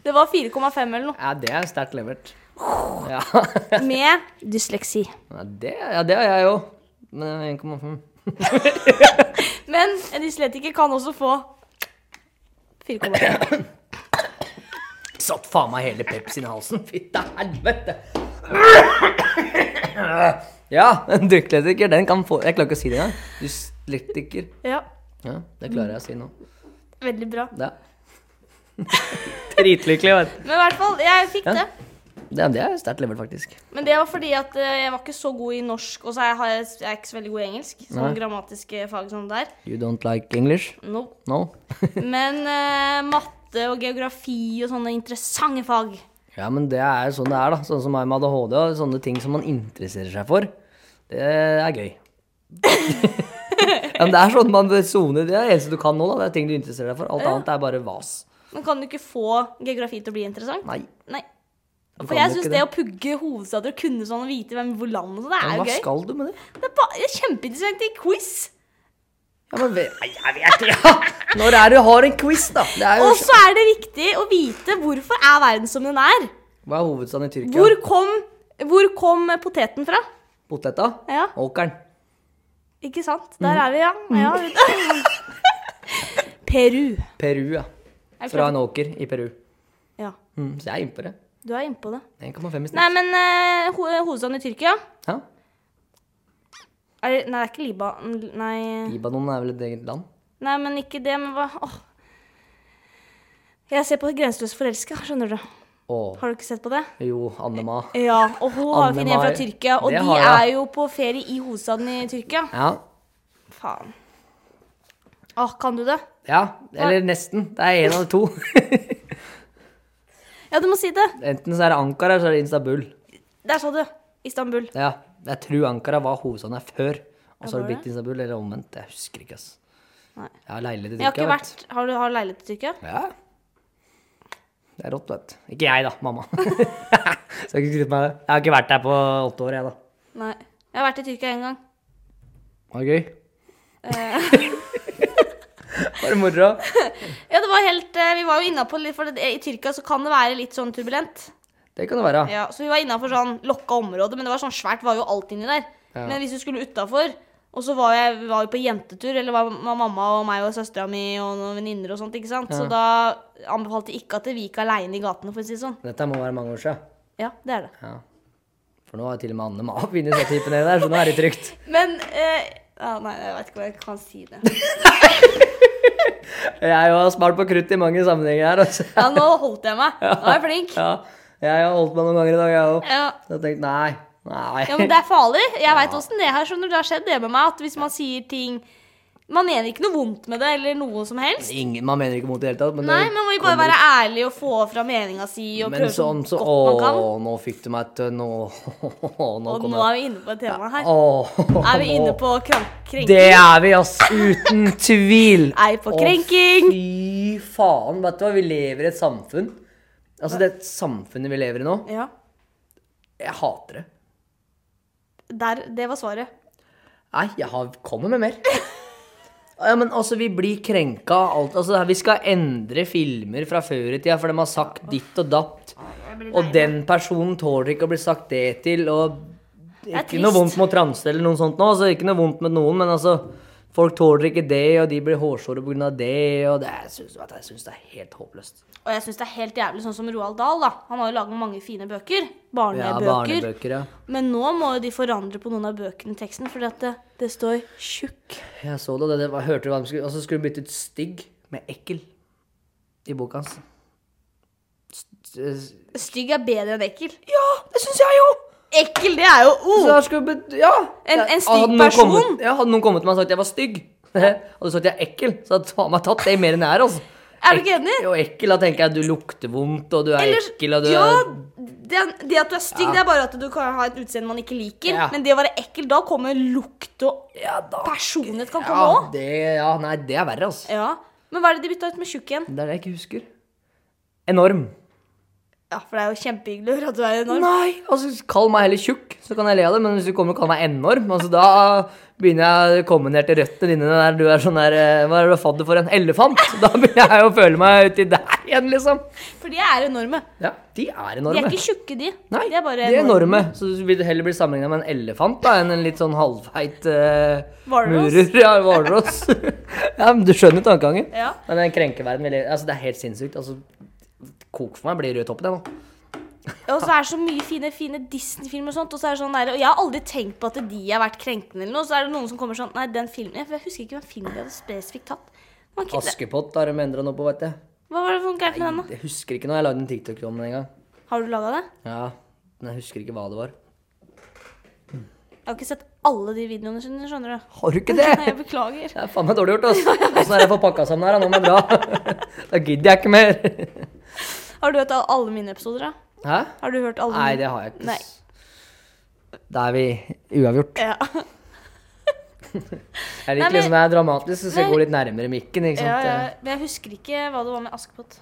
Det var 4,5 eller noe. (laughs) Ja, det er sterkt levert. Ja, (laughs) Med dysleksi. Ja, det, ja, det har jeg jo. Men 1,5 (laughs) Men en dyslektiker kan også få (laughs) 4,5. Satt faen meg hele Pepsien i halsen. Fytte helvete! Ja, en dyslektiker, den kan få Jeg klarer ikke å si det engang. Dyslektiker. Ja, Ja, det klarer jeg å si nå. veldig bra. Ja. Dritlykkelig, vet du. Men i hvert fall, jeg fikk Ja. det. Det, det er sterkt levert, faktisk. Men det var fordi at eh, jeg var ikke så god i norsk, og så er jeg, har- jeg er ikke så veldig god i engelsk. Sånn grammatiske fag som det der. You don't like English? No. No? Men eh, matte og geografi og sånne interessante fag. Ja, men det er jo sånn det er, da. Sånn som meg med ADHD og sånne ting som man interesserer seg for. Det er gøy. (laughs) ja, men det er sånn man soner. Det er det eneste du kan nå, da. Det er ting du interesserer deg for. Alt annet er bare vas. Men kan du ikke få geografi til å bli interessant? Nei. Nei. du For kan jeg jo syns ikke det å pugge hovedstader og kunne sånn og vite hvem hvor landet og sånn, det Men er jo Hva gøy. skal du med det? Det er, ba- det er kjempeinteressant i quiz. Ja, men ve- Nei, jeg vet ikke. Ja. (laughs) Når er det du har en quiz, da? Det er jo... Og så er det viktig å vite hvorfor er verden som den er. Hva er hovedstaden i Tyrkia? Hvor kom, hvor kom poteten fra? Poteta? Ja, Åkeren. ikke sant? Mm. Der er vi, ja. ja. (laughs) vet du. Peru. Peru, ja. Er du Fra klar? en åker i Peru. Ja, Mm, så jeg er innpå det. du er innpå det. 1,5 i snitt. Nei, men eh, ho hovedstaden i Tyrkia Ja. er, det- Nei, det er ikke Liban. Nei. Libanon er vel et eget land? nei, men ikke det, men hva Åh. Jeg ser på Grenseløs forelska, skjønner du. Å. Har du ikke sett på det? Jo, Annema. Ja, og hun har jo funnet en fra Anne-Mai. Tyrkia, og Det de har jeg. er jo på ferie i hovedstaden i Tyrkia. Ja. Faen. Åh, kan du det? Ja, eller nesten. Det er én av de to. (laughs) Ja, du må si det. Enten så er det Ankara, eller så er det Instabul. Der sa du. Istanbul. Ja, jeg tror Ankara var hovedstaden her før. Ja, Og så har var det blitt Instabul, eller omvendt. Jeg husker ikke, ass. Nei. Jeg har leilighet i Jeg har ikke Tyrkia. vet vært Har du har leilighet i Tyrkia? du. Ja. Det er rått, vet du. Ikke jeg, da. Mamma. (laughs) Skal ikke skryte på meg det. Jeg har ikke vært der på åtte år, jeg, da. Nei. Jeg har vært i Tyrkia én gang. Var det gøy? Eh. (laughs) Var det moro? Ja, det var helt eh, Vi var jo innafor litt, for det, i Tyrkia så kan det være litt sånn turbulent. Det kan det være. Ja, Så vi var innafor sånn lokka område, men det var sånn svært, var jo alt inni der. Ja. Men hvis du skulle utafor, og så var jeg vi var jo på jentetur, eller var var mamma og meg og søstera mi og noen venninner og sånt, ikke sant, så da anbefalte de ikke at vi gikk aleine i gatene, for å si det sånn. Dette må være mange år siden. Ja, det er det. Ja. For nå har til og med Anne Ma begynt å sette hippene nedi der, så nå er det trygt. Men eh, ja, Nei, jeg vet ikke hva jeg kan si det. Jeg er jo smart på krutt i mange sammenhenger her, altså. Ja, nå holdt jeg meg. Nå er jeg flink. Ja, jeg har holdt meg noen ganger i dag, jeg òg. Ja. Så jeg tenkte nei, Nei. Ja, men det er farlig. Jeg veit åssen det her skjønner du. Det har skjedd det med meg at hvis man sier ting Man mener ikke noe vondt med det eller noe som helst. Ingen, man mener ikke mot det i det hele tatt. Men Nei, det man må jo bare kommer være ærlig og få fra meninga si og Men prøve så sånn så godt man kan. Å, nå fikk du meg til Nå, (laughs) nå Og nå kommer jeg er vi inne på et tema her. Å, Er vi inne på krank krenking? (laughs) Det er vi, ass! (laughs) Uten tvil! Er vi på Å, krenking? Fy faen. Vet du hva, vi lever i et samfunn. Altså, det samfunnet vi lever i nå, Ja. jeg hater det. Der, det var svaret. Nei, jeg har, kommer med mer. Ja, men altså, vi blir krenka av alt. Altså, det her- vi skal endre filmer fra før i tida, for de har sagt ditt og datt. Og den personen tåler ikke å bli sagt det til, og er Ikke noe trist. vondt mot transe eller noe sånt nå, altså, ikke noe vondt med noen, men altså Folk tåler ikke det, og de blir hårsåre pga. det, og det, jeg syns jeg synes det er helt håpløst. Og jeg syns det er helt jævlig sånn som Roald Dahl. da. Han har jo laget mange fine bøker. Ja, Barnebøker. barnebøker, ja. Men nå må jo de forandre på noen av bøkene i teksten, fordi at det, det står tjukk. Jeg så det, og det, det var, hørte du hva de skulle Og så skulle de bytte ut stygg med ekkel i boka hans. St- st- Stygg er bedre enn ekkel. Ja, det syns jeg jo! Ekkel, det er jo Så ord! jeg skulle bet- ja. En- en stygg Hadde noen person? Kommet, ja, hadde noen kommet til meg og sagt at jeg var stygg, (laughs) hadde du sagt at jeg er ekkel, så hadde faen meg tatt det mer enn jeg er. altså. Er du ikke enig? Jo, ekkel, da tenker jeg du lukter vondt, og du er Ellers- ekkel, og du ja, er det, det at du er stygg, det er bare at du kan ha et utseende man ikke liker. Ja. Men det å være ekkel, da kommer lukt og Ja da. personlighet kan Ja, komme òg. det, ja, nei, det er verre, altså. Ja. Men hva er det de bytta ut med tjukk igjen? Det er det jeg ikke husker. Enorm. Ja, for det er jo kjempehyggelig å høre at du er enorm. Nei, altså kall meg heller tjukk, så kan jeg le av det. Men hvis du kommer og kaller meg enorm, altså da begynner jeg å komme ned til røttene dine der du er sånn der eh, Hva er det fadder for en elefant? Da begynner jeg å føle meg uti der igjen, liksom. For de er enorme. Ja, de er De er enorme. ikke tjukke, de. Nei, de er bare enorme. Så du vil heller bli sammenligna med en elefant da, enn en litt sånn halvfeit eh, Hvalross. murer. Ja, hvalross. (laughs) ja, men du skjønner tankegangen. Ja. Men den krenkeverden vi lever- altså, Det er helt sinnssykt. Altså, kok for meg, blir rød toppen, jeg nå. Og så er det så mye fine, fine Disney-filmer og sånt. Og så er det sånn der, og jeg har aldri tenkt på at de har vært krenkende eller noe. Så er det noen som kommer sånn Nei, den filmen Jeg husker ikke hvem film de hadde spesifikt tatt. Det var ikke- Askepott har de endra noe på, vet jeg. Hva var det for noe gærent med den, da? Jeg husker ikke noe. Jeg lagde en TikTok om den en gang. Har du laga det? Ja, men jeg husker ikke hva det var. Jeg har ikke sett alle de videoene sine, skjønner du. Har du ikke Nei, (laughs) jeg det? beklager. Det er faen meg dårlig gjort, ass. Åssen er det jeg får pakka sammen her, da? Nå må jeg dra. (laughs) Da gidder jeg ikke mer. (laughs) Har du hørt al- alle mine episoder, da? Hæ? Har du hørt alle Nei, mine? det har jeg ikke. Nei. Da er vi uavgjort. Ja. Nei, Jeg liker men- liksom det er dramatisk, så skal jeg Nei. gå litt nærmere mikken, ikke Ja, sant? Eh, ja, men jeg husker ikke hva det var med Askepott.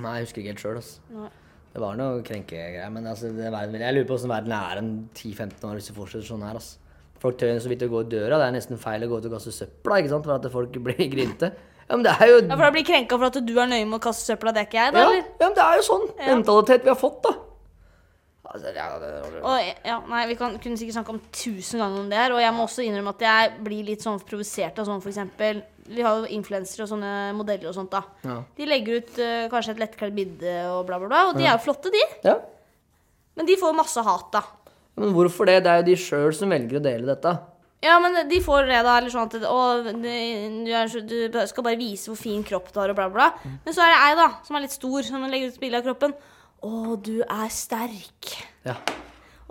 Nei, jeg husker ikke helt sjøl, ass. Nei. Det var noe krenkegreier, men altså, det er verden, jeg lurer på åssen verden er om 10-15 år hvis det fortsetter sånn her, ass. Folk tør jo så vidt å gå i døra, det er nesten feil å gå ut og kaste søpla, ikke sant, for at folk blir (laughs) grinte. Ja, men det er jo Ja, for da blir krenka for at du er nøye med å kaste søpla, det er ikke jeg, da? Ja, eller? ja, men det er jo sånn mentalitet vi har fått, da. Altså, ja, det, Og, ja, nei, Vi kan, kunne sikkert snakke om tusen ganger om det her. Og jeg må også innrømme at jeg blir litt sånn provosert av sånn f.eks. Vi har jo influensere og sånne modeller og sånt. da ja. De legger ut eh, kanskje et lettkledd bilde og bla, bla, bla. Og de er jo flotte, de. ja. Men de får masse hat, da. Men hvorfor det? Det er jo de sjøl som velger å dele dette. Ja, men de får det, da. Eller sånn at Å, du, er så- du skal bare vise hvor fin kropp du har, og bla, bla. Mm. bla. Men så er det ei, da, som er litt stor, som legger ut bilde av kroppen. Å, du er sterk. Ja.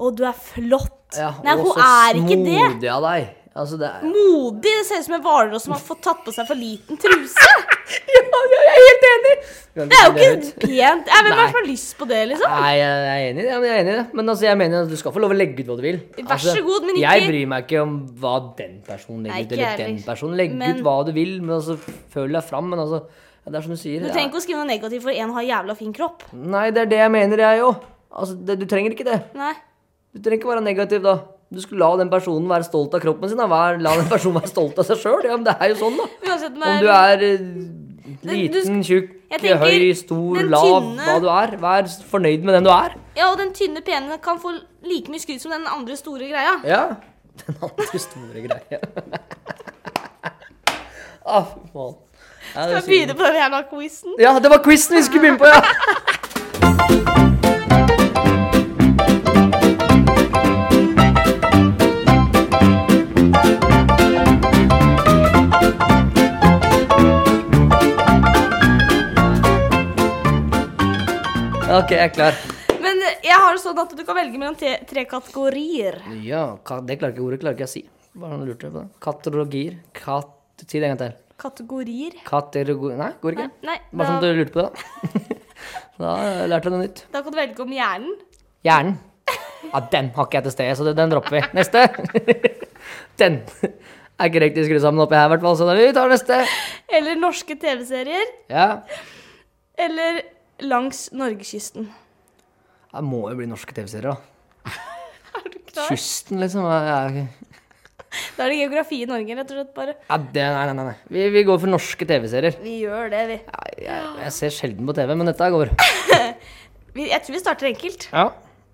Å, du er flott. ja. Nei, og hun så er ikke det. Smodig av deg. Altså, det er Modig! Det ser ut som en hvalross som har fått tatt på seg for liten truse. Ja, jeg er helt enig! Det er jo ikke pent. Ja, Hvem er Nei. det som har lyst på det, liksom? Nei, jeg er enig i det. ja, men Jeg er enig i det. Men altså, jeg mener at du skal få lov å legge ut hva du vil. Vær så Altså, god, men ikke- Jeg bryr meg ikke om hva den Nei, personen legger ut, ikke jeg eller den heller. personen. Legg Men- ut hva du vil, men altså, føl deg fram. Men altså, ja, det er som du sier. Du ja. trenger ikke å skrive noe negativt for en har jævla fin kropp. Nei, det er det jeg mener, jeg òg. Altså, det- du trenger ikke det. Nei. Du trenger ikke være negativ, da. Du skulle la den personen være stolt av kroppen sin. Da. Vær, la den personen være stolt av seg sjøl. Ja, men det er jo sånn, da. Uansett Om med du er eh, du liten, tjukk, Jeg tenker, høy, stor, den lav, tynne- hva du er, vær fornøyd med den du er. Ja, og den tynne pene kan få like mye skryt som den andre store greia. Ja. (laughs) Den andre store greia. (laughs) ah, fy faen. Ja, Skal jeg det var begynne på den jævla quizen? Ja, det var quizen vi skulle begynne på, ja! Ok, jeg er klar. Men eh, jeg har det sånn at du kan velge mellom te tre kategorier. Ja, ka- det klarer ikke ordet klarer ikke jeg å si. Bare han lurte jeg på det. Kategorier. Kat... Si det en gang til. Kategorier? Kategori... Nei, går ikke. Nei, Bare sånn at da, du lurte på det. da (laughs) Da lærte jeg noe nytt. da kan du velge om hjernen. Hjernen. Ja, den har ikke jeg til stede, så den dropper vi. Neste. (laughs) Den er ikke riktig skrudd sammen oppi her, i hvert fall, så da vi tar neste. Eller norske TV-serier. Ja. Eller langs Norgekysten. Det må jo bli norske TV-serier, da. Er du klar? Kysten, liksom. Ja, Da er det geografi i Norge, rett og slett. bare. ja, det, nei, nei, nei, nei. Vi, vi går for norske TV-serier. Vi gjør det, vi. Ja, jeg, jeg ser sjelden på TV, men dette her går. vi jeg tror vi starter enkelt. Ja.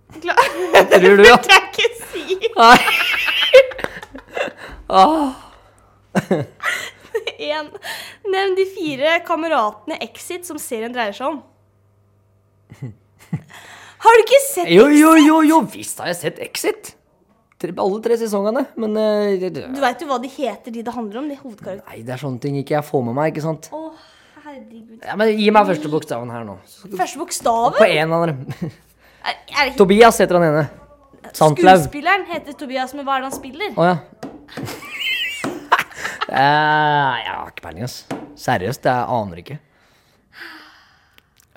Klar. (laughs) Tror du, ja? Det kan jeg ikke si. Nei. (laughs) Åh. En. Nevn de fire kameratene Exit som serien dreier seg om. Har du ikke sett Jo, jo, jo, jo, visst har jeg sett Exit. Tre- Alle tre sesongene, men eh, det- det- Du veit jo hva de heter, de det handler om? De hovedkarakterene. Nei, det er sånne ting ikke jeg får med meg, ikke sant? Å, herregud. Ja, men Gi meg første bokstaven her nå. Første bokstaven På en av dem. er, er det Tobias heter han ene. Sandlaug. Skuespilleren heter Tobias, men hva er det han spiller? Å ja. (laughs) Eh, jeg har ikke peiling, ass. Seriøst, jeg aner ikke.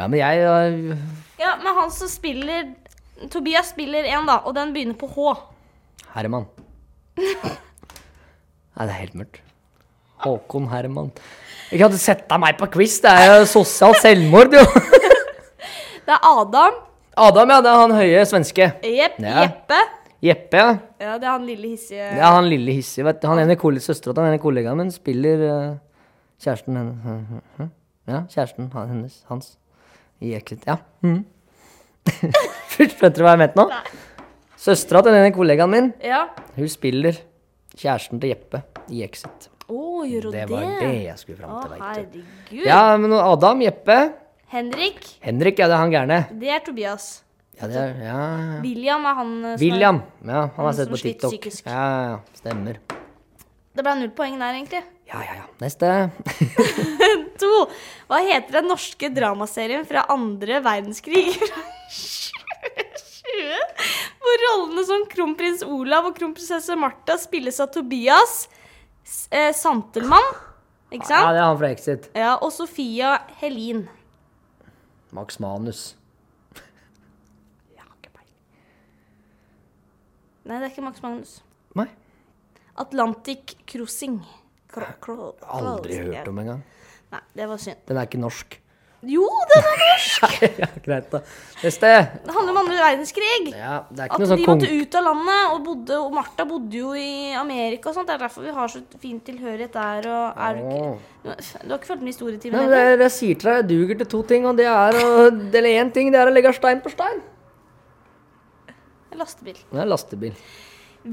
Ja, men jeg eh, Ja, men han som spiller Tobias spiller en, da, og den begynner på H. Herman. Nei, det er helt mørkt. Håkon Herman. Ikke hadde sett deg meg på quiz, det er jo sosialt selvmord, jo. Det er Adam. Adam, ja, det er han høye svenske. Jepp. Ja. Jeppe. Jeppe, ja. Ja, det er han lille hissige Ja, han lille hissige, vet du. Han ene kolle, søstera til den ene kollegaen min spiller eh, kjæresten hennes. Ja, kjæresten han- hennes, hans. I Exit, ja. (laughs) Mm. Skjønte du hva jeg mente nå? Søstera til den ene kollegaen min, Ja. hun spiller kjæresten til Jeppe i Exit. Å, gjør hun Det det? var det jeg skulle fram Å, til, veit du. herregud. Ja, men Adam, Jeppe Henrik, Henrik, ja, det er han gærne. det er Tobias. Ja, det er, ja, ja. William er han eh, som William. Ja, han har Han sett som på sliter TikTok. psykisk. Ja, ja, ja, stemmer. Er, det ble null poeng der, egentlig. (laughs) Ja, ja, ja. Neste. To. Hva heter den norske dramaserien fra andre verdenskrig? (laughs) Fra 2020, Hvor rollene som kronprins Olav og kronprinsesse Martha spilles av Tobias S- eh, Santelmann, ikke Ja, sant? det er han fra Exit. Ja, og Sofia Helin. Max Manus. Nei, det er ikke Max Magnus. Nei. Atlantic Crossing. Cro- cro- Aldri crossing, ja. hørt om engang. Nei, det var synd. Den er ikke norsk. (laughs) Jo, den er norsk! ja, greit, da. Neste. Det handler om andre verdenskrig. Ja, det At er ikke noe de sånn måtte kong... ut av landet, og, bodde, og Martha bodde jo i Amerika og sånt. Det er derfor vi har så fin tilhørighet der. Og er du, Åh. ikke, du har- du har ikke fulgt med i historietimen? Nei, men heller? jeg, jeg sier til deg, jeg duger til to ting, og det er å Eller én ting, det er å legge stein på stein. Lastebil. Det er lastebil.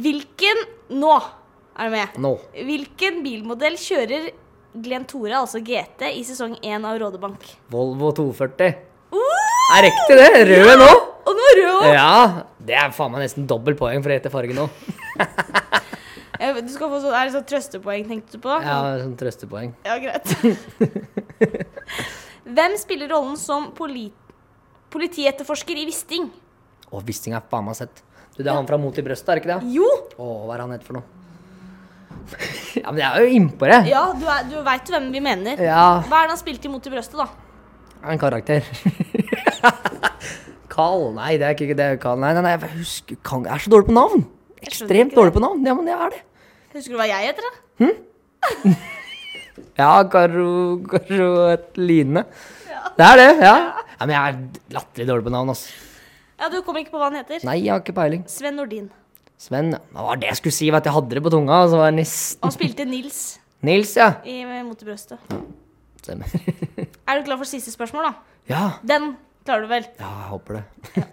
Hvilken Nå er du med. Nå. Hvilken bilmodell kjører Glenn Tore, altså GT, i sesong 1 av Rådebank? Volvo 240. Uh! Er riktig, det. Rød nå. Og den var rød òg! Ja. Det er faen meg nesten dobbelt poeng for å hete farge nå. Du skal få sånn, er det sånn trøstepoeng, tenkte du på? Ja, sånn trøstepoeng. Ja, greit. (laughs) Hvem spiller rollen som poli politietterforsker i Wisting? Å, Wisting er faen meg sett. Du, det er han fra Mot i brøstet, er det ikke det? Jo! Å, hva er han het for noe? (laughs) ja, men jeg er jo innpå det. Ja, du, er- du veit jo hvem vi mener. Ja, Hva er det han spilte imot i brøstet, da? en karakter. (laughs) Carl, nei, det er ikke det. er Carl, nei, nei, nei, jeg husker Kang Jeg er så dårlig på navn. Jeg skjønner Ekstremt ikke dårlig på navn. Ja, men jeg er det. det. Husker du hva jeg heter, da? Ja, Karo Karo Line. Det er det, ja. ja. Men jeg er latterlig dårlig på navn, altså. Ja, Du kommer ikke på hva han heter? Nei, jeg har ikke peiling. Sven Nordin. Sven, ja. hva var det jeg skulle si? Vet du, jeg hadde det på tunga. Så var det nesten Han spilte Nils Nils, ja. i Mot i brøstet. Stemmer. (laughs) Er du klar for siste spørsmål, da? Ja. Den klarer du vel. ja, jeg håper det.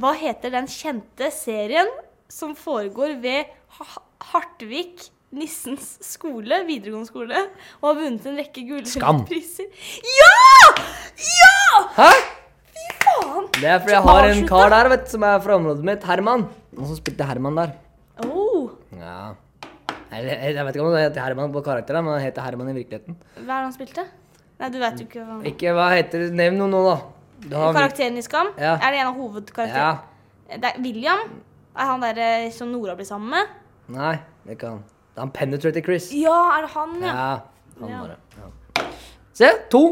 Hva heter den kjente serien som foregår ved ha Hartvik Nissens skole, videregående skole, og har vunnet en rekke Skam. gullpriser? Ja! Ja! Hæ? Fy faen! Det er fordi jeg har en kar der, vet du, som er fra området mitt. Herman. Og så spilte Herman der. Oh, Ja Nei, Jeg, jeg vet ikke om han heter Herman på karakteren, men han heter Herman i virkeligheten. hva er det han spilte? Nei, du vet jo ikke hva han Ikke hva heter Nevn noe nå, da. Du har- karakteren i Skam, Ja. er det en av hovedkarakterene. Ja. Det er William er han der eh, som Nora blir sammen med. Nei, det er ikke han. Det er han Penetrator Chris. Ja, er det han, ja? Ja, han Ja. bare. Ja. Se, to.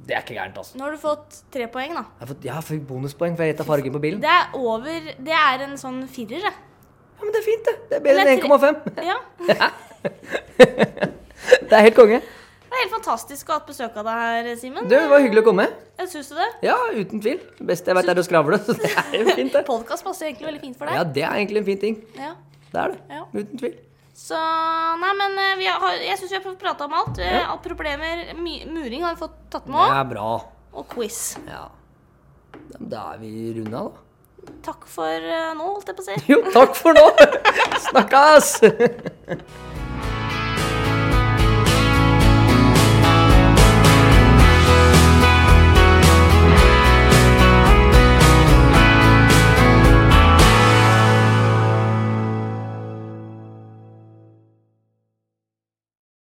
Det er ikke gærent, altså. Nå har du fått tre poeng, da. Jeg har fått, jeg har fått bonuspoeng for jeg gjetta fargen på bilen. Det er over Det er en sånn firer, jeg. Ja, men det er fint, det. Det er bedre Eller enn 1,5. Ja. (laughs) Det er helt konge. Det er helt fantastisk å ha hatt besøk av deg her, Simen. Du, det var hyggelig å komme. Jeg syns du det? Ja, uten tvil. Det beste jeg vet, er å skravle. (laughs) Så det er jo fint, det. Podkast passer egentlig veldig fint for Ja, deg. det er egentlig en fin ting. Ja. Det er det. Ja. Uten tvil. Så Nei, men eh, vi har, jeg syns vi har fått prata om alt. Ja. Alle problemer. My, muring har vi fått tatt med Det òg. er bra. Og quiz. Ja. Ja, men Da er vi runda, da. Takk for eh, nå, holdt jeg på å si. Jo, takk for nå. (laughs) Snakkes!